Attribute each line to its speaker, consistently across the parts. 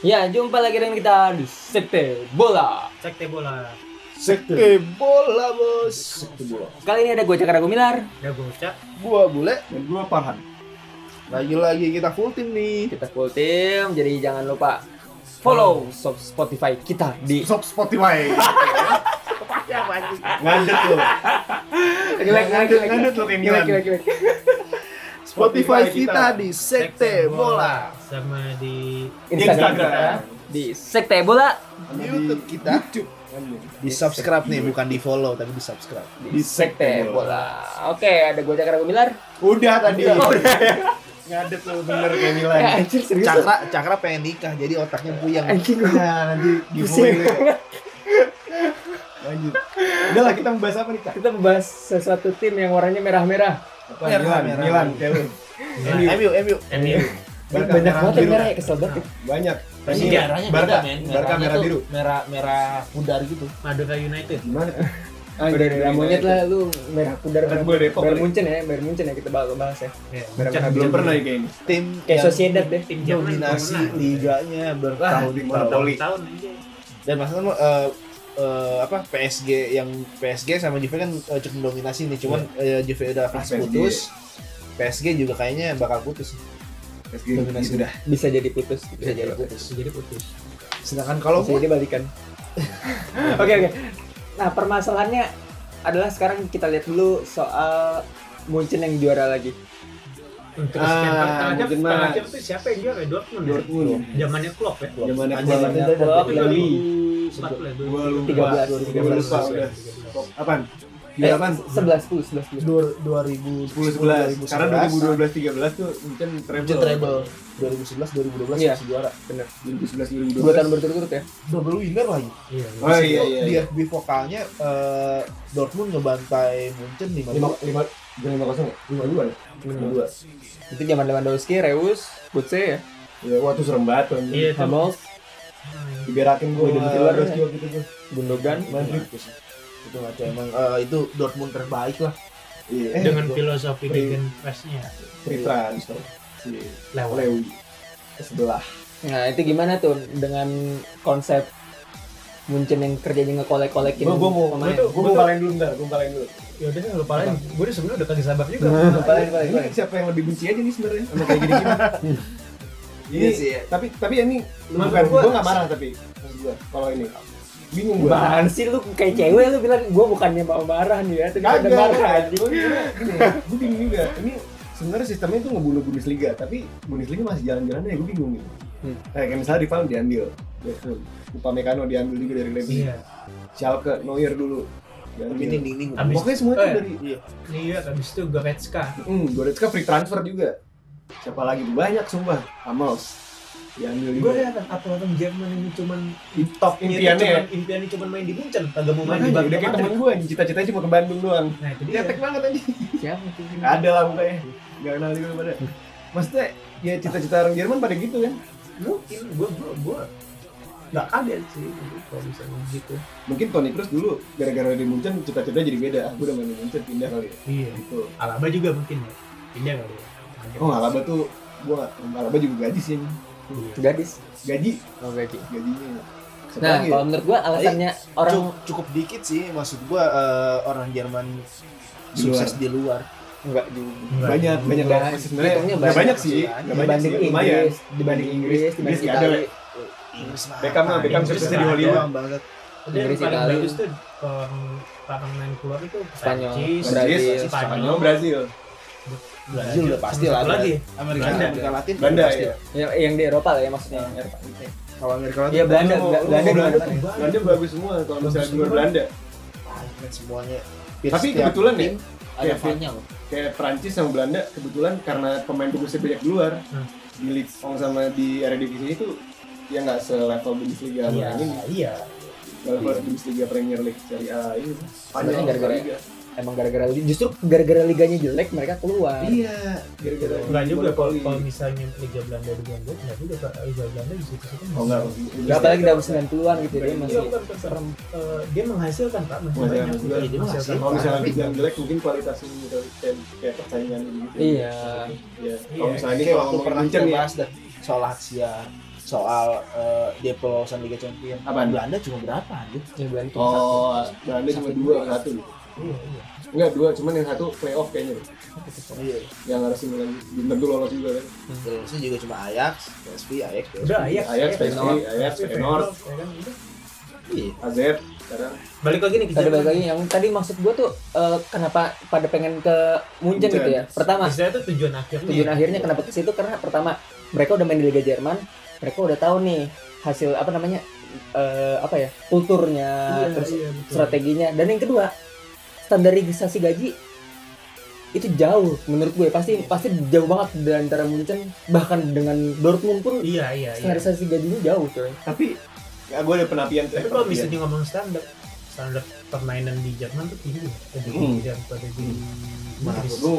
Speaker 1: Ya, jumpa lagi dengan kita di Sekte Bola.
Speaker 2: Cek teh bola.
Speaker 3: Sekte bola bos. Sekte bola.
Speaker 1: Kali ini ada gue Cakra Gumilar.
Speaker 2: Ya gocak.
Speaker 3: Gua bule.
Speaker 4: Dan gue Farhan.
Speaker 3: Lagi-lagi kita full tim nih.
Speaker 1: Kita full tim, jadi jangan lupa follow sub Spotify kita di
Speaker 4: Sob Spotify. Ngandut lu. Ngandut, ngandut lu kayak Milan.
Speaker 3: Spotify
Speaker 4: Spotify
Speaker 3: kita
Speaker 4: kita.
Speaker 3: di Sekte Bola.
Speaker 2: Sama di
Speaker 1: Iya, Instagram,
Speaker 4: Instagram.
Speaker 1: kita
Speaker 4: ya.
Speaker 1: ya. di Sekte Bola
Speaker 4: Sama di-
Speaker 3: YouTube kita. Di subscribe nih, bukan di follow tapi di subscribe.
Speaker 4: Di Sekte Bola.
Speaker 1: Oke, ada gue Cakra Gumilar.
Speaker 4: Udah tadi.
Speaker 1: Oh, udah.
Speaker 4: Ngandut lu bener kayak Milan.
Speaker 1: Eh, anjir serius. Cakra.
Speaker 3: Cakra, Cakra pengen nikah jadi otaknya puyeng.
Speaker 1: Anjing.
Speaker 4: Nah, nanti di
Speaker 1: Pusing.
Speaker 4: Lanjut. Udah lah kita membahas apa nih, Kak?
Speaker 1: Kita membahas sesuatu tim yang warnanya merah-merah.
Speaker 4: Apa,
Speaker 3: Merah,
Speaker 4: Milan,
Speaker 3: merah.
Speaker 4: Milan, kayak lu.
Speaker 2: Milan.
Speaker 3: MU, MU.
Speaker 2: MU.
Speaker 4: Barca
Speaker 1: Banyak
Speaker 4: merah
Speaker 1: banget yang
Speaker 4: biru.
Speaker 1: merah ya, kesel banget.
Speaker 4: Banyak.
Speaker 5: Tapi
Speaker 4: Tadi
Speaker 5: daerahnya
Speaker 4: Barca,
Speaker 5: beda men.
Speaker 4: Barca
Speaker 5: Daerahnya
Speaker 4: merah
Speaker 5: tuh
Speaker 4: biru.
Speaker 5: Merah merah pudar gitu.
Speaker 2: Madura United.
Speaker 4: Gimana? Anjing,
Speaker 1: Udah udah
Speaker 4: Milan
Speaker 1: monyet
Speaker 4: itu.
Speaker 1: lah lu merah pudar
Speaker 4: Red
Speaker 1: merah,
Speaker 4: Bull Depok
Speaker 1: merah
Speaker 4: kali.
Speaker 1: Munchen ya, merah Munchen ya kita bakal bahas ya.
Speaker 2: Ya,
Speaker 4: Merah merah
Speaker 2: Cak.
Speaker 4: belum pernah ya kayaknya.
Speaker 3: Tim
Speaker 1: Kayak
Speaker 3: yang
Speaker 1: Sociedad deh.
Speaker 2: Tim Jerman
Speaker 3: dominasi
Speaker 2: belum pernah.
Speaker 3: liganya bertahun tahun
Speaker 4: monopoli.
Speaker 2: Tahun aja.
Speaker 3: dan maksudnya eh, eh, apa PSG yang PSG sama Juve kan eh, cukup dominasi nih cuman
Speaker 4: Iya.
Speaker 3: eh, Juve udah fix
Speaker 4: PSG.
Speaker 3: putus PSG juga kayaknya bakal putus
Speaker 4: SG
Speaker 3: Dominasi.
Speaker 4: sudah.
Speaker 1: Bisa jadi putus gitu.
Speaker 3: bisa jadi putus
Speaker 2: Jadi putus.
Speaker 3: sedangkan kalau
Speaker 1: Bisa jadi balikan. Oke oke. Nah permasalahannya adalah sekarang kita lihat dulu soal Munchen yang juara lagi.
Speaker 2: Untuk
Speaker 4: Ah,
Speaker 2: sekian tahun terakhir,
Speaker 4: mungkin
Speaker 2: setengah
Speaker 4: mah.
Speaker 2: kan jam tuh siapa yang juara? Dortmund. ya?
Speaker 4: Dortmund.
Speaker 2: Zamannya Klopp ya.
Speaker 4: Zamannya
Speaker 3: Anjing,
Speaker 4: Klopp.
Speaker 3: anjing,
Speaker 1: Zamannya
Speaker 3: anjing.
Speaker 2: Tapi
Speaker 1: Klopp. Lebih.
Speaker 2: 2014 lah, 2014.
Speaker 4: Gua lupa.
Speaker 1: 13.
Speaker 4: Gua lupa udah. Apaan?
Speaker 1: Eh,
Speaker 4: Gila apaan?
Speaker 1: 11 10 11 10.
Speaker 3: dua- 2010
Speaker 4: 10 11
Speaker 3: 2011,
Speaker 4: karena 2012 13 tuh Munchen
Speaker 3: Munchen
Speaker 4: treble
Speaker 3: treble 2011 2012
Speaker 1: Iya.
Speaker 3: masih juara bener
Speaker 4: 2011
Speaker 1: Dua tahun
Speaker 4: 2012
Speaker 1: berturut-turut ya.
Speaker 3: double winner lagi
Speaker 2: Iya.
Speaker 4: oh iya iya
Speaker 3: di FB vokalnya eh, Dortmund ngebantai Munchen 5
Speaker 4: lima jangan lima kosong lima dua ya lima dua
Speaker 1: Itu zaman Lewandowski, Reus, Götze ya,
Speaker 4: ya waktu serem banget tuh
Speaker 2: Iya itu.
Speaker 1: Hummels,
Speaker 4: diberakin gue
Speaker 3: Udah
Speaker 4: udah
Speaker 3: ditelan
Speaker 4: terus
Speaker 1: ya.
Speaker 4: juga gitu tuh
Speaker 1: Gundogan.
Speaker 4: Madrid
Speaker 3: itu ngaco emang eh, itu Dortmund terbaik lah Eh,
Speaker 4: iya
Speaker 2: Dengan
Speaker 3: gua-
Speaker 2: filosofi Degen Pressnya
Speaker 4: free trans si
Speaker 2: lewat.
Speaker 4: Lewi ke sebelah
Speaker 1: Nah itu gimana tuh dengan konsep Munchen yang kerjanya ngekolek-kolekin
Speaker 4: gue gue mau
Speaker 1: pemain?
Speaker 4: gue mau balain dulu ntar gue balain dulu
Speaker 2: Ya udah lu paling gue udah sebenarnya udah kagak sabar juga.
Speaker 4: Nah.
Speaker 1: Balain, balain,
Speaker 4: ini
Speaker 1: balain.
Speaker 4: siapa yang lebih benci aja nih sebenarnya sama kayak gini gini ini
Speaker 3: Iya sih, ya.
Speaker 4: tapi tapi ini
Speaker 2: Maksud
Speaker 4: bukan
Speaker 2: gua-
Speaker 4: gue nggak marah tapi maksud gue kalau ini bingung gue
Speaker 1: Bahan sih lu kayak cewek lu bilang gue bukannya mau marah nih ya, tapi ada
Speaker 4: kagak
Speaker 1: marah.
Speaker 4: gue gue bingung juga ini sebenarnya sistemnya itu ngebunuh Bundesliga tapi Bundesliga masih jalan-jalan aja gue bingung gitu
Speaker 1: Hmm.
Speaker 4: Nah, kayak misalnya Rivaldo diambil Dortmund Upamecano diambil juga dari Leipzig
Speaker 2: Iya.
Speaker 4: Schalke Neuer dulu
Speaker 3: tapi ini
Speaker 4: diambil.
Speaker 3: ini gua-
Speaker 2: Abis-
Speaker 4: pokoknya semua itu
Speaker 2: eh.
Speaker 4: dari
Speaker 2: Iya, habis itu Goretzka.
Speaker 4: hmm, Goretzka free transfer juga siapa lagi tuh? banyak sumpah Amos diambil
Speaker 2: gue
Speaker 4: juga
Speaker 2: heran apa orang Jerman ini cuman
Speaker 4: di top
Speaker 2: Iya,
Speaker 4: impiannya ya
Speaker 2: cuman, impiannya cuman main di Munchen kagak mau main
Speaker 4: Makanya,
Speaker 2: di
Speaker 4: udah
Speaker 2: Bandung
Speaker 4: kayak temen
Speaker 2: Madrid.
Speaker 4: gue anjing, cita-citanya cuma ke Bandung doang
Speaker 2: nah itu dia
Speaker 4: Cetek banget anjing
Speaker 1: Siapa tuh?
Speaker 4: ada lah mukanya nggak kenal juga pada maksudnya ya cita-cita orang Jerman pada gitu kan
Speaker 2: mungkin gue gue gue nggak kaget sih kalau misalnya gitu
Speaker 4: mungkin Toni Kroos dulu gara-gara di Munchen cita-cita jadi beda aku udah main di Munchen pindah kali ya
Speaker 2: iya
Speaker 4: gitu
Speaker 2: Alaba juga mungkin ya pindah kali ya Mungkin.
Speaker 4: oh Alaba tuh gua Alaba juga gaji sih anjing.
Speaker 2: Iya.
Speaker 1: Gadis.
Speaker 4: gaji
Speaker 1: Oh, Gagi.
Speaker 4: gajinya Siapa
Speaker 1: Nah,
Speaker 4: lagi ya?
Speaker 1: kalau menurut gua alasannya orang
Speaker 3: Cuk- cukup dikit sih maksud gua eh, orang Jerman
Speaker 4: Di
Speaker 3: sukses di luar
Speaker 1: enggak juga.
Speaker 2: Nggak.
Speaker 4: banyak banyak
Speaker 1: Nggak,
Speaker 4: lah sebenarnya
Speaker 1: hitungnya
Speaker 4: nggak
Speaker 1: Nah, banyak
Speaker 4: banyak sih
Speaker 1: sih,
Speaker 4: nggak banyak sih
Speaker 1: dibanding
Speaker 4: lumayan
Speaker 1: Inggris, dibanding Inggris, dibanding
Speaker 4: nggak ada
Speaker 1: Itali.
Speaker 4: lah.
Speaker 3: Inggris mah
Speaker 4: Beckham mah
Speaker 3: apaan,
Speaker 4: Beckham
Speaker 3: Inggris
Speaker 4: suksesnya di
Speaker 3: mah
Speaker 4: Hollywood
Speaker 3: doang banget
Speaker 2: Udah, yang
Speaker 1: Inggris,
Speaker 2: paling
Speaker 1: Itali.
Speaker 2: bagus tuh orang orang main keluar itu
Speaker 1: Spanyol,
Speaker 2: Prancis,
Speaker 4: Brazil
Speaker 1: Brazil,
Speaker 4: Spanyol Brazil
Speaker 3: Brazil udah pasti
Speaker 2: Sama
Speaker 3: lah
Speaker 2: satu
Speaker 3: ada.
Speaker 2: lagi
Speaker 3: Amerika
Speaker 4: Belanda.
Speaker 3: Amerika Latin
Speaker 4: Belanda
Speaker 3: pasti.
Speaker 4: ya
Speaker 1: Ya, yang di Eropa lah ya maksudnya.
Speaker 3: kalau Amerika Latin
Speaker 1: Iya, Belanda,
Speaker 4: Lu mau-
Speaker 1: Belanda, Belanda.
Speaker 4: lu mau Belanda
Speaker 1: Belanda.
Speaker 4: tuh Belanda bagus semua kalau misalnya di luar Belanda
Speaker 3: paling keren kan semuanya
Speaker 4: tapi
Speaker 3: Setiap
Speaker 4: kebetulan ya
Speaker 3: tim
Speaker 1: Ada
Speaker 4: Kevin.
Speaker 1: fannya loh.
Speaker 4: kayak Prancis sama Belanda kebetulan karena pemain bagusnya banyak di luar
Speaker 2: Hmm.
Speaker 4: di Ligue 1 sama di Eredivisie itu ya nggak selevel Bundesliga sama
Speaker 2: iya
Speaker 4: yang ini
Speaker 2: iya
Speaker 4: nggak level Bundesliga Premier League Serie A ini
Speaker 1: Sebenarnya
Speaker 4: panjang
Speaker 1: gara-gara-
Speaker 4: Liga.
Speaker 1: Emang gara-gara justru gara-gara liganya jelek mereka keluar.
Speaker 4: iya gara-gara
Speaker 2: nggak juga kalau
Speaker 4: monopoli.
Speaker 2: kalau misalnya Liga Belanda diganggu nggak juga Pak. Liga Belanda di situ situ
Speaker 4: oh nggak
Speaker 1: Gak apalagi tahun 90-an gitu dia
Speaker 2: Iya,
Speaker 1: masih
Speaker 2: bukan serem. Eh, dia menghasilkan pak masih
Speaker 4: Masih
Speaker 2: banyak
Speaker 4: menghasilkan.
Speaker 2: Iya, dia menghasilkan
Speaker 4: kalau misalnya
Speaker 2: Tapi-
Speaker 4: dibilang jelek mungkin kualitasnya gitu kayak- kayak persaingan gitu
Speaker 1: Iya.
Speaker 4: ya
Speaker 2: Iya.
Speaker 4: kalau misalnya ini
Speaker 3: kayak
Speaker 4: kalau
Speaker 3: waktu
Speaker 4: ngomongin
Speaker 3: pernah
Speaker 4: Munchen
Speaker 3: kita
Speaker 4: ya
Speaker 3: bahas dah soal Lazio soal eh, dia pelolosan Liga Champions.
Speaker 4: Apaan?
Speaker 3: Belanda cuma berapa anjir?
Speaker 1: Ya, Belanda cuma satu.
Speaker 4: Oh, Belanda cuma dua satu.
Speaker 1: Iya, iya.
Speaker 4: Enggak dua, cuman yang satu playoff kayaknya. deh.
Speaker 3: Iya.
Speaker 4: Yang harus Milan bener tuh lolos juga kan.
Speaker 1: Hmm.
Speaker 3: Terusnya juga cuma Ajax, PSV, Ajax, PSV.
Speaker 1: Udah, Ajax.
Speaker 4: Ajax, PSV,
Speaker 1: Feyenoord.
Speaker 4: Ajax, Feyenoord,
Speaker 2: Ya kan, udah.
Speaker 3: Iya.
Speaker 4: AZ, sekarang
Speaker 2: Balik lagi nih ke
Speaker 1: Tadi
Speaker 2: Jerman.
Speaker 1: balik lagi yang tadi maksud gua tuh eh, kenapa pada pengen ke Munchen
Speaker 4: Munchen.
Speaker 1: gitu ya. Pertama,
Speaker 2: Istilahnya itu tujuan akhirnya.
Speaker 1: tujuan akhirnya kenapa ke situ karena pertama mereka udah main di Liga Jerman, mereka udah tahu nih hasil apa namanya eh, apa ya kulturnya
Speaker 2: Iya,
Speaker 1: terus
Speaker 2: iya, betul.
Speaker 1: strateginya dan yang kedua standarisasi gaji itu jauh menurut gue
Speaker 4: Iya.
Speaker 1: pasti pasti jauh banget dari antara Munchen bahkan dengan Dortmund pun
Speaker 2: Iya, iya, iya.
Speaker 1: standarisasi gajinya jauh coy
Speaker 4: Tapi ya gue ada penapian
Speaker 2: Tapi kalau misalnya ngomong standar, standar permainan di Jerman tuh tinggi
Speaker 4: Hmm.
Speaker 2: lebih tinggi daripada di
Speaker 1: Hmm. Iya.
Speaker 4: Nah,
Speaker 2: Inggris.
Speaker 4: gue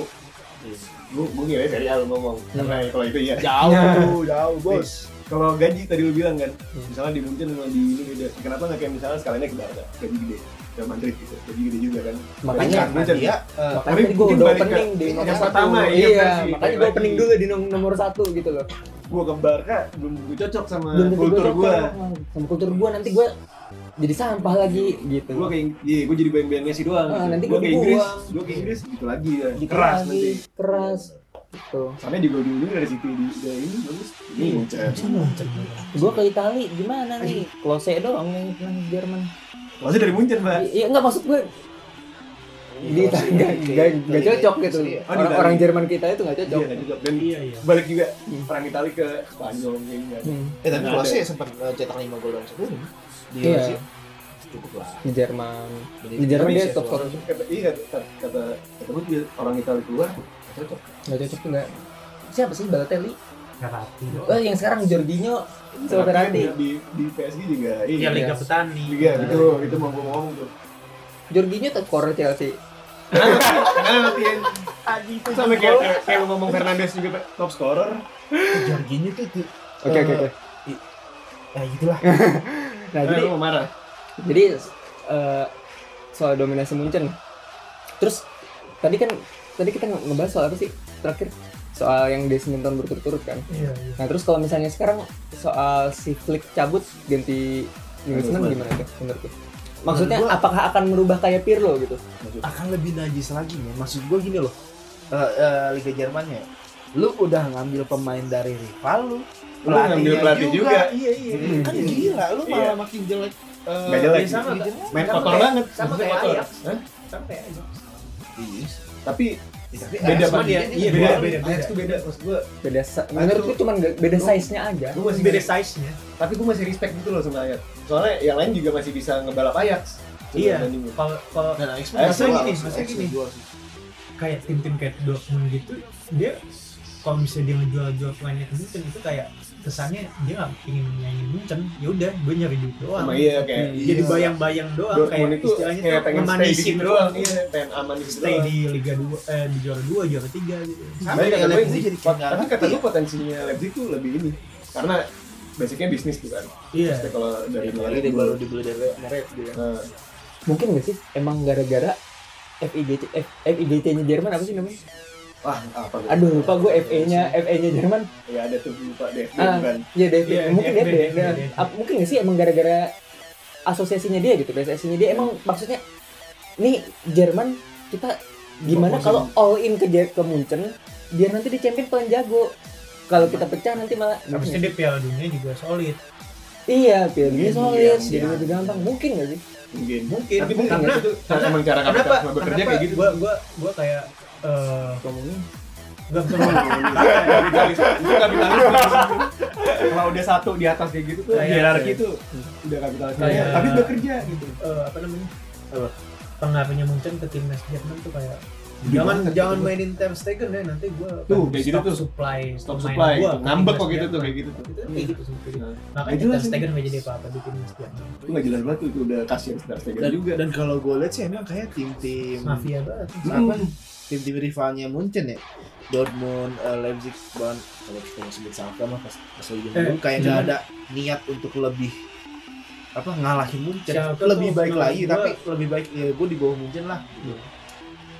Speaker 3: Iya.
Speaker 4: gue gue ngira dari awal ngomong karena
Speaker 2: Iya,
Speaker 4: kalau itu ya
Speaker 3: Jauh, jauh, bos.
Speaker 4: kalau gaji tadi lu bilang kan
Speaker 1: Hmm.
Speaker 4: misalnya di Munchen sama di ini beda kenapa nggak kayak misalnya skalanya ke Barca gaji gede ke Madrid gitu gaji gede juga kan
Speaker 1: Makanya
Speaker 4: Dari
Speaker 3: Karena
Speaker 4: Munchen
Speaker 3: dia eh,
Speaker 1: makanya
Speaker 4: Tapi
Speaker 1: tadi gue
Speaker 4: mungkin
Speaker 1: udah
Speaker 4: balik ke-
Speaker 1: opening di
Speaker 4: yang
Speaker 1: nomor satu
Speaker 4: pertama, iya,
Speaker 1: iya,
Speaker 4: versi,
Speaker 1: makanya
Speaker 4: balik
Speaker 1: gue
Speaker 4: lagi.
Speaker 1: opening dulu di nom- nomor satu gitu loh
Speaker 4: gue ke Barca belum tentu cocok sama
Speaker 1: belum tentu
Speaker 4: Nah, kultur
Speaker 1: cocok
Speaker 4: gue
Speaker 1: sama kultur gue nanti gue jadi sampah lagi gitu
Speaker 4: gue ke Inggris gue iya, jadi bayan-bayan Messi doang
Speaker 1: Ah,
Speaker 4: gitu.
Speaker 1: nanti
Speaker 4: gue
Speaker 1: gua
Speaker 4: ke Inggris
Speaker 1: dibuang.
Speaker 4: gue ke Inggris gitu lagi ya
Speaker 1: Gitu
Speaker 4: keras
Speaker 1: lagi,
Speaker 4: nanti
Speaker 1: keras gitu
Speaker 4: sampai juga dulu dari situ di dari ini bagus
Speaker 1: Iya.
Speaker 4: ini Munchen
Speaker 1: gue ke Itali gimana nih klose doang yang yang di Jerman
Speaker 4: masih dari Munchen mbak
Speaker 1: I- iya nggak maksud gue
Speaker 4: Iya,
Speaker 1: di Itali nggak- nggak nggak cocok gitu
Speaker 4: Oh, di
Speaker 1: orang,
Speaker 4: Itali.
Speaker 1: orang Jerman kita itu nggak
Speaker 4: Iya,
Speaker 1: cocok
Speaker 4: nggak cocok. Dan
Speaker 2: Iya, iya.
Speaker 4: balik juga
Speaker 1: Hmm.
Speaker 4: perang Itali ke Spanyol ya, kayaknya.
Speaker 1: Hmm,
Speaker 3: Eh tapi
Speaker 4: Nggak
Speaker 3: kalau
Speaker 4: ada.
Speaker 3: sih sempat eh, cetak 5 gol dalam sekunder di
Speaker 1: Iya.
Speaker 3: Rusia. Cukup lah.
Speaker 1: di Jerman di Jerman dia
Speaker 3: Indonesia
Speaker 1: top scorer
Speaker 3: doang.
Speaker 4: Kata iya kata kata kata gue dia orang Itali keluar nggak cocok.
Speaker 1: nggak cocok tuh nggak siapa sih Balotelli
Speaker 2: Karate.
Speaker 1: oh yang sekarang Jorginho Soberati
Speaker 4: Di di PSG juga
Speaker 2: Iya,
Speaker 4: iya.
Speaker 2: Liga Petani.
Speaker 4: Iya, itu itu mau gue ngomong tuh.
Speaker 1: Jorginho top scorer Chelsea
Speaker 4: Karena latihan sama kayak kayak lu ngomong Fernandes juga Pak, top scorer.
Speaker 3: Jorginho tuh tuh.
Speaker 1: oke oke oke
Speaker 3: Ya gitulah.
Speaker 1: nah
Speaker 4: Jadi
Speaker 1: jadi
Speaker 4: mau marah.
Speaker 1: jadi eh, soal dominasi Munchen terus tadi kan tadi kita nge- ngebahas soal apa sih terakhir soal yang dia 9 tahun berturut-turut kan
Speaker 2: Iya, iya.
Speaker 1: nah terus kalau misalnya sekarang soal si Flick cabut ganti Nagelsmann gimana tuh menurut lu? maksudnya
Speaker 3: Menurut
Speaker 1: apakah akan merubah kayak Pirlo gitu
Speaker 3: Akan lebih najis lagi nih. Maksud gua gini loh. Eh, eh, Liga Jermannya. Lu udah ngambil pemain dari rival lu.
Speaker 4: Lu ngambil pelatih juga.
Speaker 3: Iya, iya.
Speaker 4: Hmm.
Speaker 3: Kan gila lu
Speaker 4: Iya.
Speaker 3: malah makin jelek. Eh,
Speaker 4: Nggak jelek.
Speaker 2: Iya, sama
Speaker 3: Liga
Speaker 2: kayak-
Speaker 3: Jerman.
Speaker 4: Main
Speaker 2: sama
Speaker 4: kotor
Speaker 2: kayak-
Speaker 4: banget.
Speaker 2: Sama
Speaker 4: Maksudnya
Speaker 2: kayak
Speaker 4: kotor.
Speaker 2: Ajax.
Speaker 4: Hah?
Speaker 2: Sama kayak Ajax.
Speaker 3: Iya.
Speaker 4: Tapi
Speaker 3: Tapi
Speaker 4: beda
Speaker 3: Ajax
Speaker 4: Pak.
Speaker 2: sama dia.
Speaker 4: Iya,
Speaker 2: Beda,
Speaker 4: beda
Speaker 2: beda,
Speaker 4: beda.
Speaker 2: beda.
Speaker 4: Ajax tuh beda maksud gue.
Speaker 1: beda sa- menurut gue cuman nggak- beda size nya aja
Speaker 4: Gue masih
Speaker 2: Beda size-nya.
Speaker 4: tapi gue masih respect gitu loh sama Ajax. Soalnya yang lain juga masih bisa ngebalap Ajax.
Speaker 2: Iya.
Speaker 4: Dibandingin.
Speaker 2: Kalau kalau
Speaker 3: Dan Ajax
Speaker 4: Ajax
Speaker 2: maksudnya
Speaker 3: masalah,
Speaker 2: gini,
Speaker 3: Ajax
Speaker 2: maksudnya gini.
Speaker 3: dijual sih.
Speaker 2: kayak tim-tim kayak Dortmund gitu dia kalau misalnya dia ngejual-jual pemainnya ke Munchen itu kayak kesannya dia nggak pingin nyanyi Munchen ya udah gue nyari duit doang
Speaker 4: Sama iya kayak
Speaker 1: Hmm.
Speaker 2: jadi
Speaker 3: Iya.
Speaker 2: bayang-bayang doang
Speaker 4: Dortmund
Speaker 2: kayak
Speaker 4: itu
Speaker 2: istilahnya
Speaker 4: kayak
Speaker 2: tuh
Speaker 4: pengen stay di
Speaker 2: memanisin
Speaker 4: situ
Speaker 2: doang
Speaker 4: doang, iya, pengen aman di situ
Speaker 2: stay
Speaker 4: doang.
Speaker 2: di Liga 2 eh di juara 2 juara 3 gitu
Speaker 3: Sama
Speaker 4: Tapi
Speaker 3: kayak
Speaker 4: kata gue
Speaker 3: Leipzig
Speaker 4: sih,
Speaker 3: jadi
Speaker 4: pot-
Speaker 3: kayak
Speaker 4: tapi
Speaker 3: nggak
Speaker 4: kata
Speaker 3: ngerti
Speaker 4: gue potensinya Leipzig tuh lebih ini, karena basicnya bisnis tuh kan.
Speaker 2: iya
Speaker 4: Pasti kalau dari
Speaker 3: Lagi
Speaker 4: Leipzig
Speaker 3: dia baru
Speaker 4: dulu.
Speaker 3: dibeli dari Meret dia.
Speaker 4: Nah,
Speaker 1: mungkin nggak sih emang gara-gara FIGC eh, FIGC nya Jerman apa sih namanya
Speaker 4: wah apa gue?
Speaker 1: aduh lupa gue FE nya FE nya Jerman
Speaker 4: Ya ada tuh lupa deh,
Speaker 1: Ah.
Speaker 4: bukan.
Speaker 1: Iya David,
Speaker 2: Iya,
Speaker 1: mungkin
Speaker 2: David,
Speaker 1: David,
Speaker 2: David,
Speaker 1: Nah,
Speaker 2: David.
Speaker 1: ap- mungkin nggak sih emang gara-gara asosiasinya dia gitu, asosiasinya dia emang maksudnya nih Jerman kita gimana kalau all in ke Jer- ke Munchen biar nanti di champion paling jago. Kalau kita pecah nanti malah
Speaker 2: habisnya Iya, dia Piala Dunia juga solid
Speaker 1: iya Piala Dunia
Speaker 4: Iya,
Speaker 1: solid
Speaker 4: iya.
Speaker 1: jadi lebih gampang mungkin nggak sih?
Speaker 4: Mungkin.
Speaker 2: mungkin
Speaker 4: Tapi mungkin
Speaker 2: karena
Speaker 4: itu cara emang cara
Speaker 2: kenapa
Speaker 4: kapitalisme bekerja
Speaker 2: kenapa
Speaker 4: kayak gitu.
Speaker 2: gue gue gue kayak eh
Speaker 1: Ngomongin.
Speaker 2: gak bisa ngomong
Speaker 4: Kapitalisme, itu kapitalisme. Kalau udah satu di atas kayak gitu tuh,
Speaker 2: Kayak-
Speaker 4: hierarki tuh udah kapitalisme.
Speaker 2: Kayak-
Speaker 4: Tapi bekerja gitu.
Speaker 2: eh, apa namanya
Speaker 3: Apa?
Speaker 2: pengaruhnya Munchen ke timnas Jerman tuh kayak
Speaker 4: Gede
Speaker 2: jangan
Speaker 4: banget,
Speaker 2: jangan
Speaker 4: gitu.
Speaker 2: mainin Ter Stegen deh nanti gua
Speaker 4: Tuh,
Speaker 2: akan
Speaker 4: kayak gitu
Speaker 2: stop
Speaker 4: tuh.
Speaker 2: supply
Speaker 4: Stop
Speaker 2: pemain
Speaker 4: supply,
Speaker 2: gua
Speaker 4: gitu.
Speaker 2: ke
Speaker 4: ngambek
Speaker 2: timnas
Speaker 4: kok gitu tuh
Speaker 2: Jerman.
Speaker 4: kayak gitu tuh.
Speaker 2: Itu tuh kayak gitu sempit.
Speaker 4: Nah,
Speaker 2: makanya
Speaker 4: jelas
Speaker 2: Ter
Speaker 4: ini.
Speaker 2: Stegen nggak jadi apa-apa di timnas Jerman
Speaker 4: Itu nggak jelas banget tuh, itu udah kasihan Ter Stegen
Speaker 3: Dan,
Speaker 4: juga.
Speaker 3: Iya dan kalau gue lihat sih emang kayak tim-tim
Speaker 2: mafia banget
Speaker 3: apa
Speaker 2: Hmm.
Speaker 3: tim-tim rivalnya Munchen ya Dortmund, eh, Leipzig, bahkan kalau kita mau sebut sama mah pas pas lagi zaman
Speaker 2: Eh,
Speaker 3: dulu kayak nggak
Speaker 2: jangan.
Speaker 3: ada niat untuk lebih apa ngalahin Munchen
Speaker 2: Schalke
Speaker 3: lebih
Speaker 2: tuh
Speaker 3: baik
Speaker 2: menurut
Speaker 3: lagi
Speaker 2: gua-
Speaker 3: tapi lebih baik ya gue di bawah Munchen lah gitu.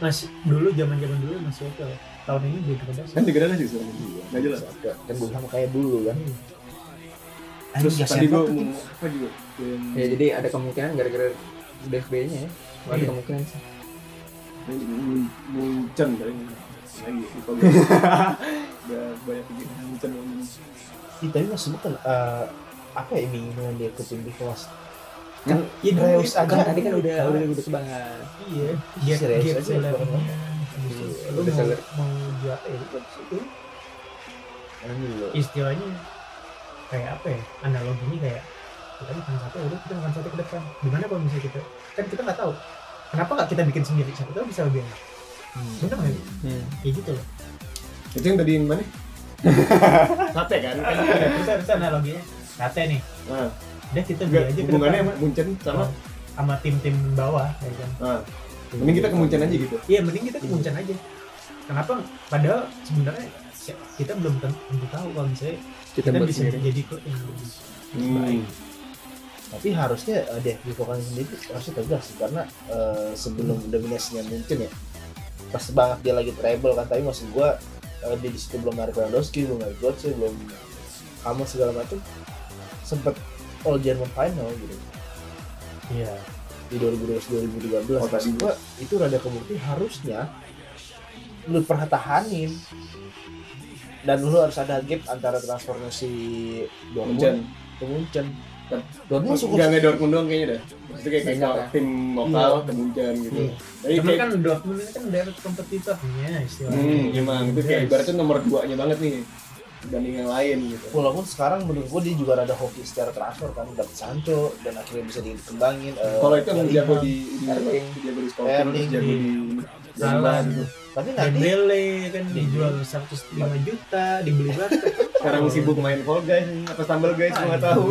Speaker 2: masih dulu zaman zaman dulu masih oke lah. tahun ini gue
Speaker 4: Iya. Kan degradasi sih sebenarnya. Nggak jelas.
Speaker 3: kan gue sama kayak dulu kan
Speaker 4: Terus
Speaker 3: Anjing, siapa
Speaker 4: tadi
Speaker 3: tuh?
Speaker 4: gue mau ngomong apa juga? Yang
Speaker 1: Ya jadi ada kemungkinan gara-gara DFB-nya ya. Wah, Ada
Speaker 2: Iya.
Speaker 1: kemungkinan sih.
Speaker 4: yang Mun- Munchen tadi ngomong. lagi lupa gue. Udah banyak pikiran Munchen ngomong.
Speaker 3: Ih, tapi maksud gue kan eh, apa ya iming-imingan dia ke tim di kelas
Speaker 1: Kan
Speaker 2: Ya, dulu
Speaker 3: Reus
Speaker 2: dia-
Speaker 3: aja.
Speaker 1: kan tadi kan udah udah udah kebangan.
Speaker 2: Iya, dia
Speaker 3: Serius
Speaker 2: dia
Speaker 4: ya,
Speaker 3: aja,
Speaker 2: levelnya.
Speaker 1: Iya,
Speaker 2: Lu
Speaker 1: udah
Speaker 2: mau
Speaker 1: seller.
Speaker 2: mau jual eh, itu
Speaker 3: ini loh
Speaker 2: istilahnya kayak apa ya? Analoginya kayak kita makan sate, udah kita makan sate ke depan. Gimana kalau misalnya kita kan kita nggak tahu. Kenapa nggak kita bikin sendiri? Siapa tahu bisa lebih enak.
Speaker 4: Hmm.
Speaker 2: Bener nggak? ya?
Speaker 1: Iya.
Speaker 2: Kayak gitu loh.
Speaker 4: Itu yang tadi yang mana? Sate kan? Kan itu ada.
Speaker 2: Iya, Bisa bisa analoginya sate nih.
Speaker 4: Nah,
Speaker 2: Udah kita beli
Speaker 4: enggak,
Speaker 2: aja ke
Speaker 4: hubungannya
Speaker 2: depan
Speaker 4: sama Munchen sama
Speaker 2: sama tim-tim bawah ya kan.
Speaker 4: Nah, mending kita ke Munchen aja gitu.
Speaker 2: Iya, mending kita ke Muncan aja. Kenapa? Padahal sebenarnya si- kita belum ten- tentu tahu kalau misalnya
Speaker 1: Kita
Speaker 2: kita
Speaker 1: buat
Speaker 2: bisa
Speaker 1: sendiri.
Speaker 2: jadi klub yang bagus.
Speaker 4: Hmm.
Speaker 3: tapi harusnya eh, dia di Vokal sendiri harusnya tegas sih karena eh, sebelum dominasinya mungkin ya pas banget dia lagi treble kan tapi maksud gua eh, dia di situ belum ada Lewandowski belum ada Götze belum kamu segala macam sempet All German Final gitu
Speaker 2: Iya.
Speaker 3: di 2012 2013
Speaker 4: Oh,
Speaker 3: maksud
Speaker 4: tadi.
Speaker 3: gua itu rada kebukti harusnya lu pertahanin dan lu harus ada gap antara transfernya si
Speaker 4: Munchen.
Speaker 3: Dortmund ke Munchen
Speaker 4: Tapi-
Speaker 3: Dortmund syukur
Speaker 4: Enggak nggak Dortmund doang kayaknya dah. Maksudnya kayak
Speaker 1: Banyak
Speaker 4: kayak
Speaker 1: ya.
Speaker 4: tim lokal ke Munchen gitu.
Speaker 2: Iya.
Speaker 4: Tapi
Speaker 2: Cuman
Speaker 4: kayak
Speaker 2: kan Dortmund ini kan daerah kompetitornya istilahnya.
Speaker 4: Hmm, emang itu kayak
Speaker 2: Yes.
Speaker 4: ibaratnya nomor 2-nya banget nih dibanding yang lain gitu.
Speaker 3: walaupun sekarang menurut gua dia juga rada hoki secara transfer kan dapet Sancho dan akhirnya bisa dikembangin eh,
Speaker 4: Kalau itu emang
Speaker 3: dari-
Speaker 4: jago di di
Speaker 1: Erling.
Speaker 4: jago di Scorpion, terus
Speaker 3: Erling.
Speaker 4: jago di
Speaker 2: Salah.
Speaker 4: gitu.
Speaker 3: tapi nanti
Speaker 2: Dembele kan dijual 105 juta, dibeli Barca.
Speaker 4: Sekarang sibuk main Fall Guys apa Stumble Guys gua enggak tahu.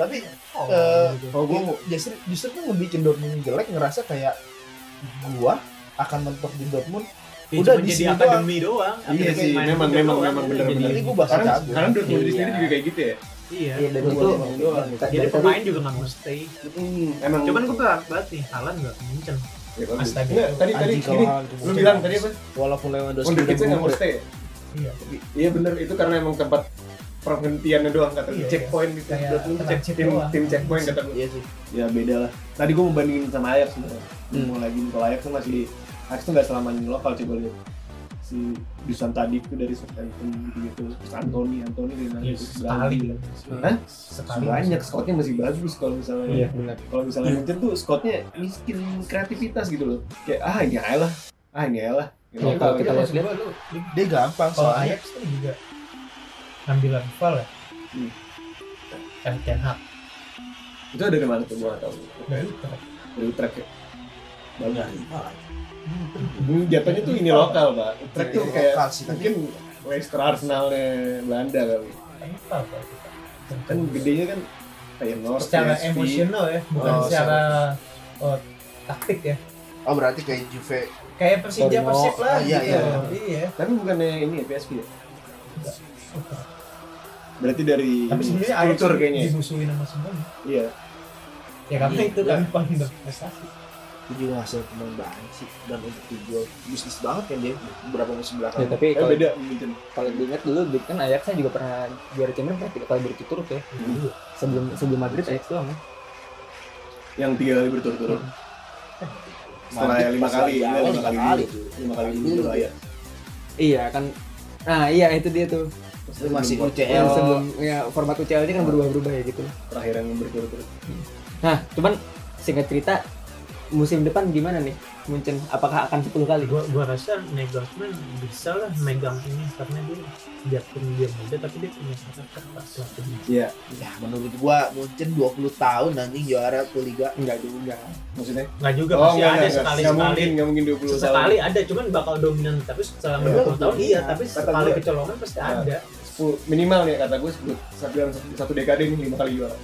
Speaker 3: tapi
Speaker 2: Oh,
Speaker 3: Eh,
Speaker 2: gitu.
Speaker 4: Kalau gua mau-
Speaker 3: justru justru tuh ngebikin Dortmund jelek ngerasa kayak gua akan mentok di Dortmund
Speaker 2: Ya,
Speaker 3: udah
Speaker 2: cuman
Speaker 3: di
Speaker 2: jadi
Speaker 3: sini
Speaker 2: akademi doang.
Speaker 4: Iya
Speaker 2: akademi
Speaker 4: sih,
Speaker 2: main
Speaker 4: memang
Speaker 2: juga
Speaker 4: memang
Speaker 2: doang.
Speaker 4: memang benar-benar.
Speaker 3: Jadi gua bakal
Speaker 4: Sekarang
Speaker 3: jago.
Speaker 4: sekarang Dortmund di sendiri juga kayak gitu ya.
Speaker 2: Iya.
Speaker 1: Iya, dan
Speaker 4: Gua
Speaker 1: itu
Speaker 4: doang, doang gitu.
Speaker 1: dari
Speaker 2: Jadi
Speaker 1: tadi-
Speaker 2: pemain juga nggak mau stay.
Speaker 4: Hmm, emang
Speaker 2: Cuman gue berat banget nih, Halan nggak ke Munchen.
Speaker 4: Ya, bagus.
Speaker 2: Astaga.
Speaker 4: Enggak, tadi tadi
Speaker 3: Anjing
Speaker 4: gini.
Speaker 3: kalau Haaland ke
Speaker 4: Lu
Speaker 3: Munchen.
Speaker 4: bilang tadi apa? Oh,
Speaker 3: walaupun Lewandowski
Speaker 4: Under
Speaker 3: udah
Speaker 4: kids nggak mau
Speaker 3: gugur.
Speaker 4: stay. ya?
Speaker 2: Iya.
Speaker 4: Iya bener itu karena emang tempat perhentiannya doang kata
Speaker 2: Iya,
Speaker 4: checkpoint gitu.
Speaker 2: kayak
Speaker 4: Dortmund tuh
Speaker 2: transit
Speaker 4: tim
Speaker 2: doang.
Speaker 4: tim checkpoint kata gua.
Speaker 3: iya sih
Speaker 4: ya beda lah tadi gue mau bandingin sama Ajax sebenarnya mau lagi kalau Ajax tuh masih Ajax tuh nggak selamanya lokal coba lihat si Dusan tadi itu dari Southampton gitu terus Anthony Anthony dari mana
Speaker 2: Iya,
Speaker 4: itu
Speaker 2: sekali.
Speaker 4: Hah?
Speaker 2: Sekali.
Speaker 4: banyak scoutnya masih bagus kalau misalnya
Speaker 1: Iya, benar.
Speaker 4: kalau misalnya Munchen tuh scoutnya miskin kreativitas gitu loh kayak ah ini aja lah ah ini aja lah Gitu.
Speaker 1: Ya, kalau kita lihat
Speaker 2: Coba lu
Speaker 3: dia
Speaker 4: Oh,
Speaker 3: gampang
Speaker 2: kalau
Speaker 4: iya.
Speaker 3: soalnya
Speaker 2: Ajax kan juga ngambil Lampard ya
Speaker 4: Hmm.
Speaker 2: Ten Ten Hag
Speaker 4: itu ada dari mana tuh gue nggak tahu
Speaker 2: dari Utrecht
Speaker 4: dari Utrecht ya bagus
Speaker 3: Ah,
Speaker 4: Hmm, jatuhnya tuh ini lokal pak Utrecht tuh
Speaker 3: Ini
Speaker 4: kayak
Speaker 3: lokal sih, tapi-
Speaker 4: mungkin Leicester Arsenalnya Belanda kali
Speaker 2: apa apa itu, Pak?
Speaker 4: kan gedenya kan kayak North
Speaker 2: secara
Speaker 4: PSV.
Speaker 2: emosional ya bukan
Speaker 3: Oh,
Speaker 2: secara oh, taktik ya
Speaker 3: oh berarti kayak Juve
Speaker 2: kayak Persija
Speaker 1: Torino.
Speaker 2: Persib lah
Speaker 3: Oh, iya,
Speaker 2: gitu.
Speaker 3: iya.
Speaker 2: iya
Speaker 4: tapi bukannya ini ya PSV ya berarti dari
Speaker 2: tapi sebenarnya Ajax
Speaker 4: kultur kayaknya ya?
Speaker 2: dimusuhin sama semuanya
Speaker 4: iya
Speaker 2: ya karena
Speaker 3: Iya.
Speaker 2: itu gampang berprestasi
Speaker 3: itu juga hasil pemain sih dan untuk dijual bisnis banget kan dia beberapa musim
Speaker 1: Ya,
Speaker 3: belakang
Speaker 1: tapi
Speaker 4: eh,
Speaker 1: kalau
Speaker 4: beda mungkin
Speaker 1: kalau diingat dulu di- kan Ajax kan juga pernah juara Champions pernah tiga kali berturut-turut ya. Sebelum sebelum Madrid Ajax doang ya.
Speaker 4: yang tiga kali berturut-turut setelah
Speaker 3: Madrid
Speaker 4: lima
Speaker 3: pas
Speaker 4: kali
Speaker 3: lagi
Speaker 4: ya,
Speaker 3: awal lima
Speaker 4: lima kali
Speaker 3: kali
Speaker 4: dulu.
Speaker 3: tuh.
Speaker 4: lima kali
Speaker 3: Lima
Speaker 4: dulu
Speaker 3: kali
Speaker 4: ya
Speaker 1: Iya kan. Nah, iya itu dia tuh.
Speaker 3: Lu masih
Speaker 1: Yang
Speaker 3: UCL
Speaker 1: sebelum ya format UCL ini kan berubah-berubah ya gitu.
Speaker 4: terakhir yang berturut-turut
Speaker 1: Nah, cuman singkat cerita musim depan gimana nih Munchen? Apakah akan 10 kali?
Speaker 2: gua gua rasa Nagelsmann bisa lah megang ini karena dia biarpun dia muda tapi dia punya karakter pak strategi
Speaker 4: iya
Speaker 3: ya menurut gua Munchen 20 tahun anjing juara tuh liga
Speaker 1: Enggak juga.
Speaker 4: maksudnya
Speaker 2: nggak juga
Speaker 4: oh
Speaker 2: pasti
Speaker 4: nggak
Speaker 2: ada
Speaker 4: nggak, nggak.
Speaker 2: sekali
Speaker 4: Nggak
Speaker 2: sekali
Speaker 4: mungkin nggak mungkin dua puluh tahun
Speaker 2: sekali ada cuman bakal dominan tapi selama
Speaker 4: Iya.
Speaker 2: 20 tahun iya tapi
Speaker 4: Kata
Speaker 2: sekali
Speaker 4: gue.
Speaker 2: kecolongan pasti
Speaker 4: Iya.
Speaker 2: ada
Speaker 4: Sepuluh- minimal nih kata gue sebut satu dalam satu- satu dekade ini lima kali juara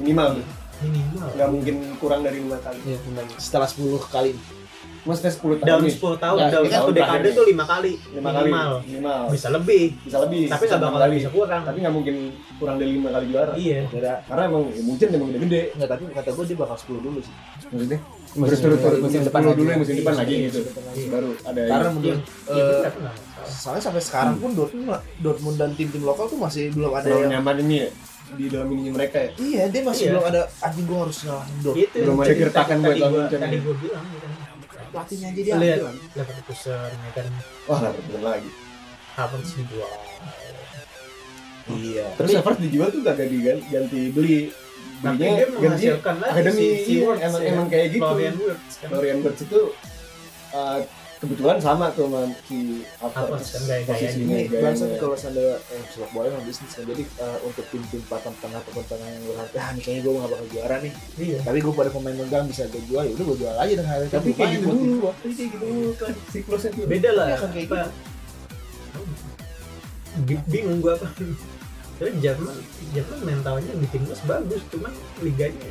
Speaker 4: minimal tuh.
Speaker 2: minimal
Speaker 4: nggak mungkin kurang dari lima kali
Speaker 1: Iya, benar.
Speaker 3: setelah 10 kali
Speaker 4: maksudnya sepuluh tahun
Speaker 2: dalam
Speaker 4: nih
Speaker 2: 10 tahun
Speaker 4: Nah,
Speaker 2: dalam
Speaker 4: ini kan
Speaker 2: satu
Speaker 4: tahun
Speaker 2: dekade
Speaker 4: terakhir
Speaker 2: tuh lima kali
Speaker 4: lima kali
Speaker 2: minimal
Speaker 4: minimal
Speaker 2: bisa lebih
Speaker 4: bisa lebih
Speaker 2: tapi nggak
Speaker 4: bisa
Speaker 2: bakal
Speaker 4: enam kali.
Speaker 2: bisa kurang
Speaker 4: tapi nggak mungkin kurang dari lima kali juara
Speaker 2: iya
Speaker 3: enggak
Speaker 4: karena emang ya, mungkin emang udah gede
Speaker 3: enggak tapi kata gua dia bakal 10 dulu sih
Speaker 4: maksudnya
Speaker 1: Musim-
Speaker 4: berturut-turut
Speaker 1: musim
Speaker 4: musim
Speaker 1: depan
Speaker 4: depan
Speaker 1: lagi.
Speaker 4: dulu ya, musim depan lagi
Speaker 2: Iya,
Speaker 4: gitu
Speaker 2: musim depan lagi.
Speaker 4: baru ada
Speaker 3: karena
Speaker 4: yang-
Speaker 3: menurut
Speaker 2: iya
Speaker 3: eh,
Speaker 2: bener, aku nggak masalah.
Speaker 3: soalnya sampai sekarang pun Dortmund Dortmund dan tim-tim lokal tuh masih belum ada
Speaker 4: terlalu
Speaker 3: yang
Speaker 4: nyaman ini ya di dalam ininya mereka ya
Speaker 3: Iya, dia masih
Speaker 2: Iya.
Speaker 3: belum ada anjing gua harus ngalahin dok.
Speaker 2: Itu
Speaker 4: Belum ada
Speaker 2: gitu. jadi
Speaker 4: gertakan
Speaker 2: tadi-
Speaker 4: buat
Speaker 2: tadi
Speaker 4: lawan
Speaker 2: gua-
Speaker 4: Champions.
Speaker 2: Tadi gue bilang gitu kan.
Speaker 3: Pelatihnya aja dia
Speaker 2: Lihat.
Speaker 3: ambil kan.
Speaker 2: Leverkusen, ya kan
Speaker 4: wah lah bener lagi
Speaker 2: Havertz dijual.
Speaker 3: Iya.
Speaker 4: terus Havertz dijual tuh gak ganti ganti beli
Speaker 2: Tapi
Speaker 4: belinya
Speaker 2: dia
Speaker 4: ganti
Speaker 2: menghasilkan lagi
Speaker 4: akademi
Speaker 2: si- si
Speaker 4: iya,
Speaker 2: Wirtz,
Speaker 4: emang
Speaker 2: ya
Speaker 4: emang
Speaker 2: kan?
Speaker 4: kayak gitu
Speaker 2: Florian Wirtz kan.
Speaker 4: Florian Wirtz itu uh, kebetulan sama tuh sama si
Speaker 2: Havertz kan gaya-gayanya.
Speaker 4: posisinya
Speaker 3: Ini
Speaker 4: gayanya.
Speaker 3: bahasan kalau seandainya eh, sepak bola emang bisnis kan jadi eh, untuk tim-tim papan tengah papan tengah yang berharga ah nih kayaknya gue gak bakal juara nih
Speaker 2: Iya.
Speaker 3: tapi gue pada pemain megang bisa gue jual ya udah gue jual aja dengan harga
Speaker 4: tapi
Speaker 3: lumayan
Speaker 4: kayak gitu
Speaker 3: buat
Speaker 4: dulu
Speaker 3: tim.
Speaker 4: waktu kayak gitu dulu kan siklusnya tuh
Speaker 2: beda lah
Speaker 3: Iya, kan kayak
Speaker 2: apa Bi- bingung gua apa tapi Jerman Jerman mentalnya di timnas bagus cuman liganya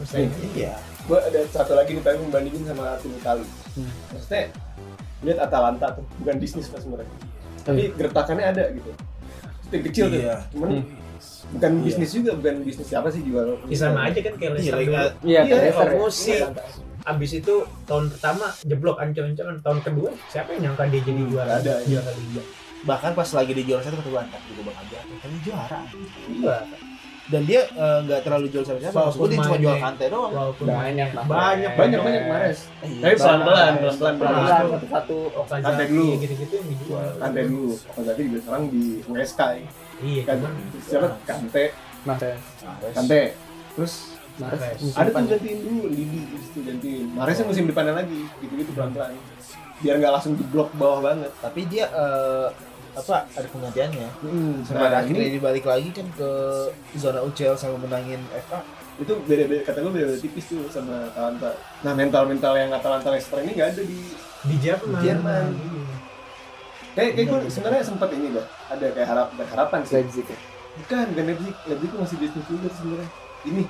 Speaker 2: persaingannya
Speaker 3: iya
Speaker 4: gue ada satu lagi nih pengen bandingin sama tim Itali
Speaker 1: Hmm.
Speaker 4: maksudnya lihat Atalanta tuh bukan bisnis pas mereka tapi gertakannya ada gitu tim kecil
Speaker 3: Iya.
Speaker 4: tuh cuman bukan
Speaker 3: Iya.
Speaker 4: bisnis juga bukan bisnis siapa sih jual
Speaker 2: ya sama aja kan kayak Leicester dulu
Speaker 3: Iya,
Speaker 1: Iya,
Speaker 4: Iya,
Speaker 1: Leicester ya.
Speaker 2: emosi abis itu tahun pertama jeblok ancur-ancuran tahun kedua siapa yang nyangka dia jadi
Speaker 4: Hmm,
Speaker 2: juara
Speaker 4: ada, iya.
Speaker 2: juara liga
Speaker 3: bahkan pas lagi di juara satu kata gue antar juga bakal jatuh kan dia juara
Speaker 2: Iya,
Speaker 3: dan dia eh, nggak terlalu jual sama siapa maksud gue dia cuma
Speaker 2: Pemainnya.
Speaker 3: jual kante doang
Speaker 2: walaupun
Speaker 4: Nah,
Speaker 1: banyak
Speaker 2: Banyak,
Speaker 4: banyak banyak Mares
Speaker 3: Eh, iya.
Speaker 4: tapi pelan-pelan pelan-pelan
Speaker 1: pelan
Speaker 4: pelan-pelan
Speaker 1: satu
Speaker 4: Lantai dulu.
Speaker 2: Okazaki iya, gitu-gitu yang dijual
Speaker 4: Kante dulu Kante juga sekarang di USK ya.
Speaker 2: iya
Speaker 4: kan
Speaker 2: cuman
Speaker 4: siapa Kante
Speaker 1: Mares
Speaker 4: Kante terus
Speaker 1: Mares
Speaker 2: Mares.
Speaker 1: musim
Speaker 4: ada tuh
Speaker 1: depan.
Speaker 4: gantiin dulu Lidi itu gantiin Maresnya musim depannya lagi gitu-gitu pelan-pelan biar nggak langsung jeblok bawah banget
Speaker 3: tapi dia eh, apa ada penggantiannya
Speaker 4: hmm,
Speaker 3: Nah, akhirnya dibalik lagi kan ke zona UCL sama menangin FA
Speaker 4: itu beda-beda kata gue beda-beda tipis tuh sama Atalanta nah mental-mental yang Atalanta Leicester ini nggak ada di
Speaker 2: di Jerman
Speaker 4: Di Jerman.
Speaker 2: Iya.
Speaker 4: kayak kayak gue sebenarnya sempat ini dah ada kayak harap bukan harapan sih
Speaker 1: Leipzig ya.
Speaker 4: bukan bukan Leipzig Leipzig tuh masih bisnis juga tuh sebenarnya ini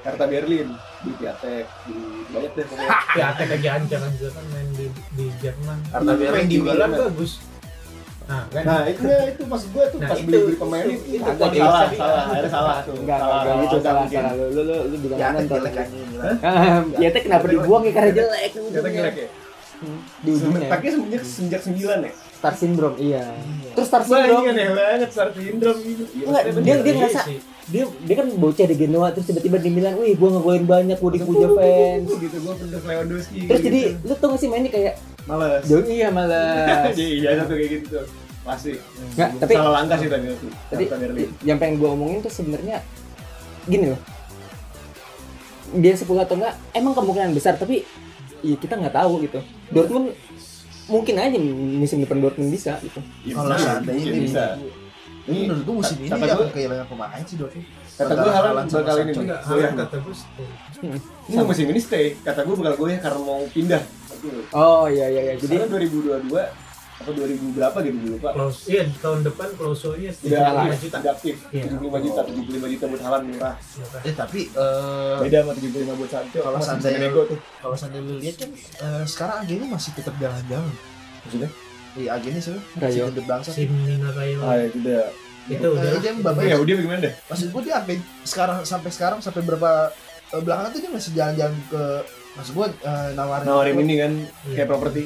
Speaker 4: Hertha Berlin di Piatek di banyak deh pokoknya
Speaker 2: ya Atek lagi ancaman juga kan main di, di Jerman
Speaker 3: Arta
Speaker 2: Main
Speaker 3: Berlin
Speaker 2: di
Speaker 3: juga
Speaker 2: Milan
Speaker 4: kan.
Speaker 2: bagus nah kan
Speaker 4: nah itu nah, itu maksud gue tuh
Speaker 2: Nah,
Speaker 4: pas
Speaker 2: itu-
Speaker 4: beli beli pemain
Speaker 2: itu-
Speaker 4: itu,
Speaker 2: itu
Speaker 4: agak
Speaker 2: kualitas
Speaker 4: salah
Speaker 2: tadi.
Speaker 4: salah akhirnya salah tuh
Speaker 1: Enggak, enggak gitu salah salah lu lu lu, lu juga
Speaker 3: ya kan
Speaker 1: nonton.
Speaker 3: jelek kan ini lah.
Speaker 1: Ah, Ya teh kenapa dibuang ya karena jelek.
Speaker 4: ternyata jelek ya
Speaker 1: Hmm, Di ujungnya.
Speaker 4: tapi semenjak semenjak sembilan ya
Speaker 1: Star syndrome iya.
Speaker 3: Iya.
Speaker 1: Terus star
Speaker 4: wah ini
Speaker 1: syndrome
Speaker 4: aneh banget Sar Syndrome gitu Iya,
Speaker 1: Enggak,
Speaker 4: maksudnya
Speaker 1: dia
Speaker 4: bener.
Speaker 1: dia ngerasa
Speaker 2: sih.
Speaker 1: dia dia kan bocah di Genoa terus tiba-tiba di Milan, wih gua ngegolin banyak, gua dipuja fans.
Speaker 4: gitu gue pendek Lewandowski
Speaker 1: Terus
Speaker 4: gitu.
Speaker 1: jadi lu tau gak sih mainnya kayak
Speaker 4: males
Speaker 1: jauh iya malah.
Speaker 4: jadi iya satu kayak gitu tuh pasti
Speaker 1: Nggak, tapi-
Speaker 4: salah langkah sih tadi itu
Speaker 1: Tapi
Speaker 4: Captain Berlin.
Speaker 1: yang pengen gue omongin tuh sebenarnya gini loh. Dia sepuluh atau enggak, emang kemungkinan besar tapi ya kita nggak tahu gitu. Dortmund mungkin aja musim depan Dortmund bisa gitu.
Speaker 4: Iya,
Speaker 3: kalau
Speaker 4: bisa,
Speaker 3: seandainya
Speaker 4: iya,
Speaker 3: ini
Speaker 4: bisa
Speaker 3: ini menurut gua musim ini
Speaker 4: kata
Speaker 3: dia
Speaker 4: gua-
Speaker 3: akan kehilangan pemain sih Dovi
Speaker 4: kata gue Halan
Speaker 3: sama
Speaker 4: bakal ini
Speaker 3: Sancho.
Speaker 2: enggak
Speaker 4: goyah.
Speaker 2: Haaland kata gue stay.
Speaker 4: Ini musim ini stay kata gue bakal goyah karena mau pindah
Speaker 1: Oh iya iya iya.
Speaker 4: jadi
Speaker 1: Jadi
Speaker 4: 2022 atau 2000 berapa gitu gue lupa
Speaker 2: Klaus- iya tahun depan klausulnya
Speaker 4: udah
Speaker 2: lima
Speaker 4: aktif,
Speaker 2: juta
Speaker 4: udah aktif
Speaker 2: Iya.
Speaker 4: 75 juta 75 juta buat Halan murah
Speaker 2: Iya kan?
Speaker 3: eh tapi eh,
Speaker 4: beda sama 75 buat Sancho
Speaker 3: Kalau
Speaker 4: masih
Speaker 3: Sancho-
Speaker 4: bisa
Speaker 2: ya.
Speaker 4: nego tuh
Speaker 3: kalau seandainya lu lihat kan eh, sekarang agennya masih tetap jalan-jalan
Speaker 4: maksudnya
Speaker 3: di agennya sih masih
Speaker 1: Rayo.
Speaker 3: tetap bangsa
Speaker 2: si Minarayo
Speaker 4: ah ya tidak
Speaker 2: itu udah
Speaker 3: Eh, dia yang
Speaker 4: ya
Speaker 3: babanya
Speaker 4: udah bagaimana deh
Speaker 3: maksud gua dia sampai sekarang sampai sekarang sampai berapa eh, belakangan tuh dia masih jalan-jalan ke maksud gua eh, nawarin
Speaker 4: nawarin ini kan
Speaker 2: Iya.
Speaker 4: kayak properti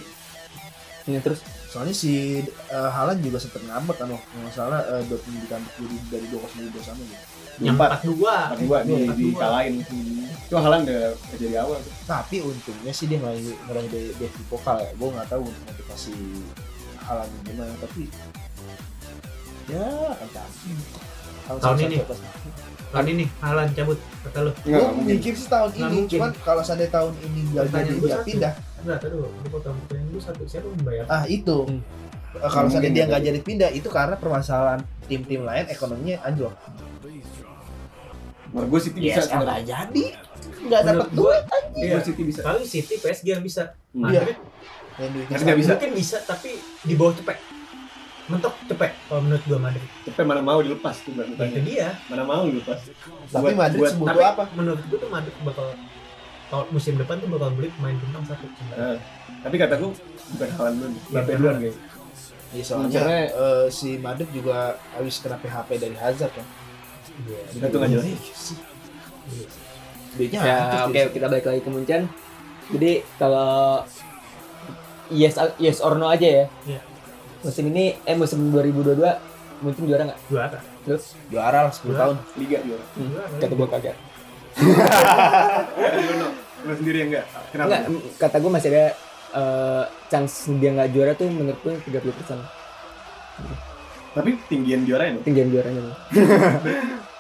Speaker 1: ya, terus
Speaker 3: soalnya si eh, Haaland juga sempet ngambek kan waktu nggak salah eh, Dortmund ditambah jadi dari dua kosong dua sama gitu
Speaker 2: yang empat
Speaker 4: empat
Speaker 2: dua Iya,
Speaker 4: empat dua nih
Speaker 2: Empat dua.
Speaker 4: dikalahin itu Halan udah kerja di awal
Speaker 3: tapi untungnya sih dia mulai mulai dari Devi vokal ya gue nggak tahu untuk motivasi Haaland gimana tapi ya akan cantik
Speaker 2: Tahun ini? tahun Kan ini Haaland cabut kata lu
Speaker 4: Nggak,
Speaker 3: gue
Speaker 4: nggak mungkin.
Speaker 2: iya.
Speaker 3: mikir sih tahun
Speaker 2: Nggak
Speaker 3: ini
Speaker 2: mungkin.
Speaker 3: cuman kalau seandainya tahun ini nggak
Speaker 2: Pertanyaan
Speaker 3: jadi
Speaker 2: gua
Speaker 3: nggak
Speaker 2: satu.
Speaker 3: pindah
Speaker 2: enggak tadi lu potong pertanyaan lu satu siapa yang membayar
Speaker 3: ah itu
Speaker 1: Hmm.
Speaker 3: Eh, kalau
Speaker 4: Nggak
Speaker 3: seandainya dia
Speaker 4: mungkin,
Speaker 3: nggak jadi pindah itu karena permasalahan tim-tim lain ekonominya anjlok
Speaker 4: menurut gue City bisa sebenarnya.
Speaker 3: jadi nggak
Speaker 2: Menurut
Speaker 3: dapat
Speaker 2: gua-
Speaker 3: duit
Speaker 2: Iya.
Speaker 4: Gue City bisa
Speaker 2: paling City PSG yang bisa
Speaker 4: Hmm.
Speaker 3: Iya.
Speaker 2: Madrid
Speaker 3: dan duitnya
Speaker 4: Tapi nggak bisa.
Speaker 2: mungkin bisa tapi di bawah cepet mentok cepet kalau menurut gua Madrid
Speaker 4: tapi mana mau dilepas tuh berarti
Speaker 2: itu dia
Speaker 4: mana mau dilepas
Speaker 3: tapi
Speaker 4: Buat-
Speaker 3: Madrid
Speaker 4: buat-
Speaker 3: sebutuh
Speaker 2: Iya. tapi-
Speaker 3: apa
Speaker 2: menurut gue tuh Madrid bakal tahun musim depan tuh bakal beli pemain bintang satu sebenarnya.
Speaker 4: Nah, tapi kata gue bukan halan dulu Mbappe
Speaker 2: benar.
Speaker 4: duluan guys
Speaker 3: Ya,
Speaker 4: Iya,
Speaker 3: soalnya
Speaker 4: Karena,
Speaker 3: eh, si Madrid juga habis kena PHP dari Hazard kan.
Speaker 2: Iya.
Speaker 4: Kita tuh nggak jelas.
Speaker 2: Iya.
Speaker 3: Duitnya
Speaker 1: ya oke
Speaker 3: hancur,
Speaker 1: kita balik lagi ke Munchen. Jadi kalau yes yes or no aja ya.
Speaker 2: Iya.
Speaker 1: Musim ini eh musim 2022 Mungkin juara nggak?
Speaker 2: juara
Speaker 1: Terus
Speaker 3: Juara lah
Speaker 4: Iya.
Speaker 3: 10 tahun.
Speaker 4: Liga juara.
Speaker 1: hmm,
Speaker 2: Juara,
Speaker 1: kata gue kagak.
Speaker 4: Lu, no. Lu sendiri yang enggak?
Speaker 1: Enggak,
Speaker 4: Kenapa?
Speaker 1: m- kata gue masih ada eh, chance dia nggak juara tuh menurut gue 30 persen.
Speaker 4: Tapi tinggian juara ya.
Speaker 1: Tinggian juaranya. Bang.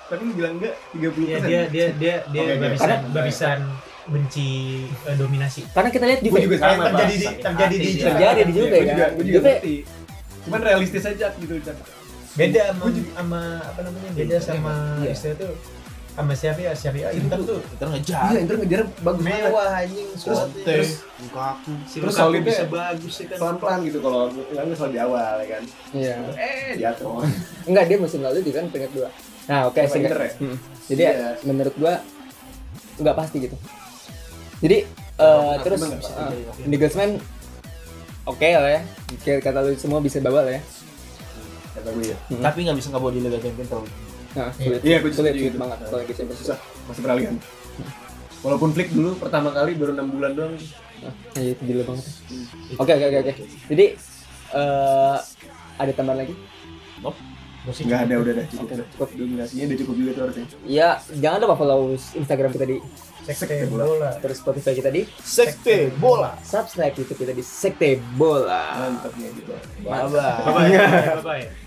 Speaker 4: Tapi lu bilang enggak 30
Speaker 2: Iya, dia dia dia dia
Speaker 4: Oke, oke.
Speaker 2: babisan babisan benci eh, dominasi
Speaker 1: Karena kita lihat
Speaker 4: Gue
Speaker 1: Juve
Speaker 4: juga sama.
Speaker 2: terjadi di
Speaker 4: Bang.
Speaker 2: terjadi di
Speaker 5: Sakit hati
Speaker 1: terjadi di Juve
Speaker 4: Gua juga,
Speaker 1: kan.
Speaker 4: gua juga
Speaker 1: Juve
Speaker 4: ngerti. Cuman realistis aja gitu. Cak.
Speaker 2: beda sama, sama apa namanya beda sama
Speaker 3: Iya.
Speaker 2: istilah itu sama siapa ya siapa ya
Speaker 3: Inter
Speaker 2: Inter tuh
Speaker 3: Inter ngejar.
Speaker 4: Iya, Inter ngejar bagus banget.
Speaker 5: mewah anjing
Speaker 3: Terus
Speaker 5: suratnya
Speaker 3: terus
Speaker 5: terus
Speaker 3: Lukaku.
Speaker 5: si
Speaker 4: terus
Speaker 5: Lukaku
Speaker 4: solidnya-
Speaker 5: bisa bagus ya kan
Speaker 4: Pelan-pelan gitu kalau nggak nggak selalu di awal ya kan.
Speaker 1: Iya.
Speaker 4: Eh, jatuh.
Speaker 1: Enggak, dia musim lalu juga kan peringkat dua. Nah, oke,
Speaker 4: Sama
Speaker 1: singkat.
Speaker 4: Inter ya?
Speaker 1: Hmm. Jadi
Speaker 4: Iya.
Speaker 1: ya, menurut gua nggak pasti gitu.
Speaker 4: Nah,
Speaker 1: Jadi eh, terus
Speaker 4: emang nggak
Speaker 1: eh,
Speaker 4: pasti.
Speaker 1: Nagelsmann oke lah ya. Kayak kata lu semua bisa bawa lah ya.
Speaker 4: Kata gue ya.
Speaker 1: Hmm.
Speaker 3: Tapi nggak bisa nggak bawa di Liga Champions terlalu.
Speaker 1: Nah, sulit.
Speaker 4: Iya, gua juga
Speaker 1: sulit,
Speaker 4: setuju
Speaker 1: sulit
Speaker 4: itu.
Speaker 1: banget kalau lagi Champions.
Speaker 4: Susah masih peralihan. Walaupun Flick dulu pertama kali baru 6 bulan doang.
Speaker 1: Nah, iya, itu gila banget.
Speaker 4: Hmm.
Speaker 1: Oke, oke, oke, oke. Jadi eh ada tambahan lagi?
Speaker 4: Enggak ada udah dah cukup.
Speaker 1: Oke,
Speaker 4: dah.
Speaker 1: cukup.
Speaker 4: Dominasinya udah cukup juga tuh harusnya.
Speaker 1: Ya, jangan lupa follow Instagram kita di
Speaker 2: sekte bola
Speaker 1: terus Spotify kita di
Speaker 3: Sekte bola.
Speaker 2: Ah.
Speaker 1: subscribe YouTube kita di Sekte Bola.
Speaker 4: Mantap nih gitu.
Speaker 3: Bye bye.
Speaker 5: ya?
Speaker 2: bye bye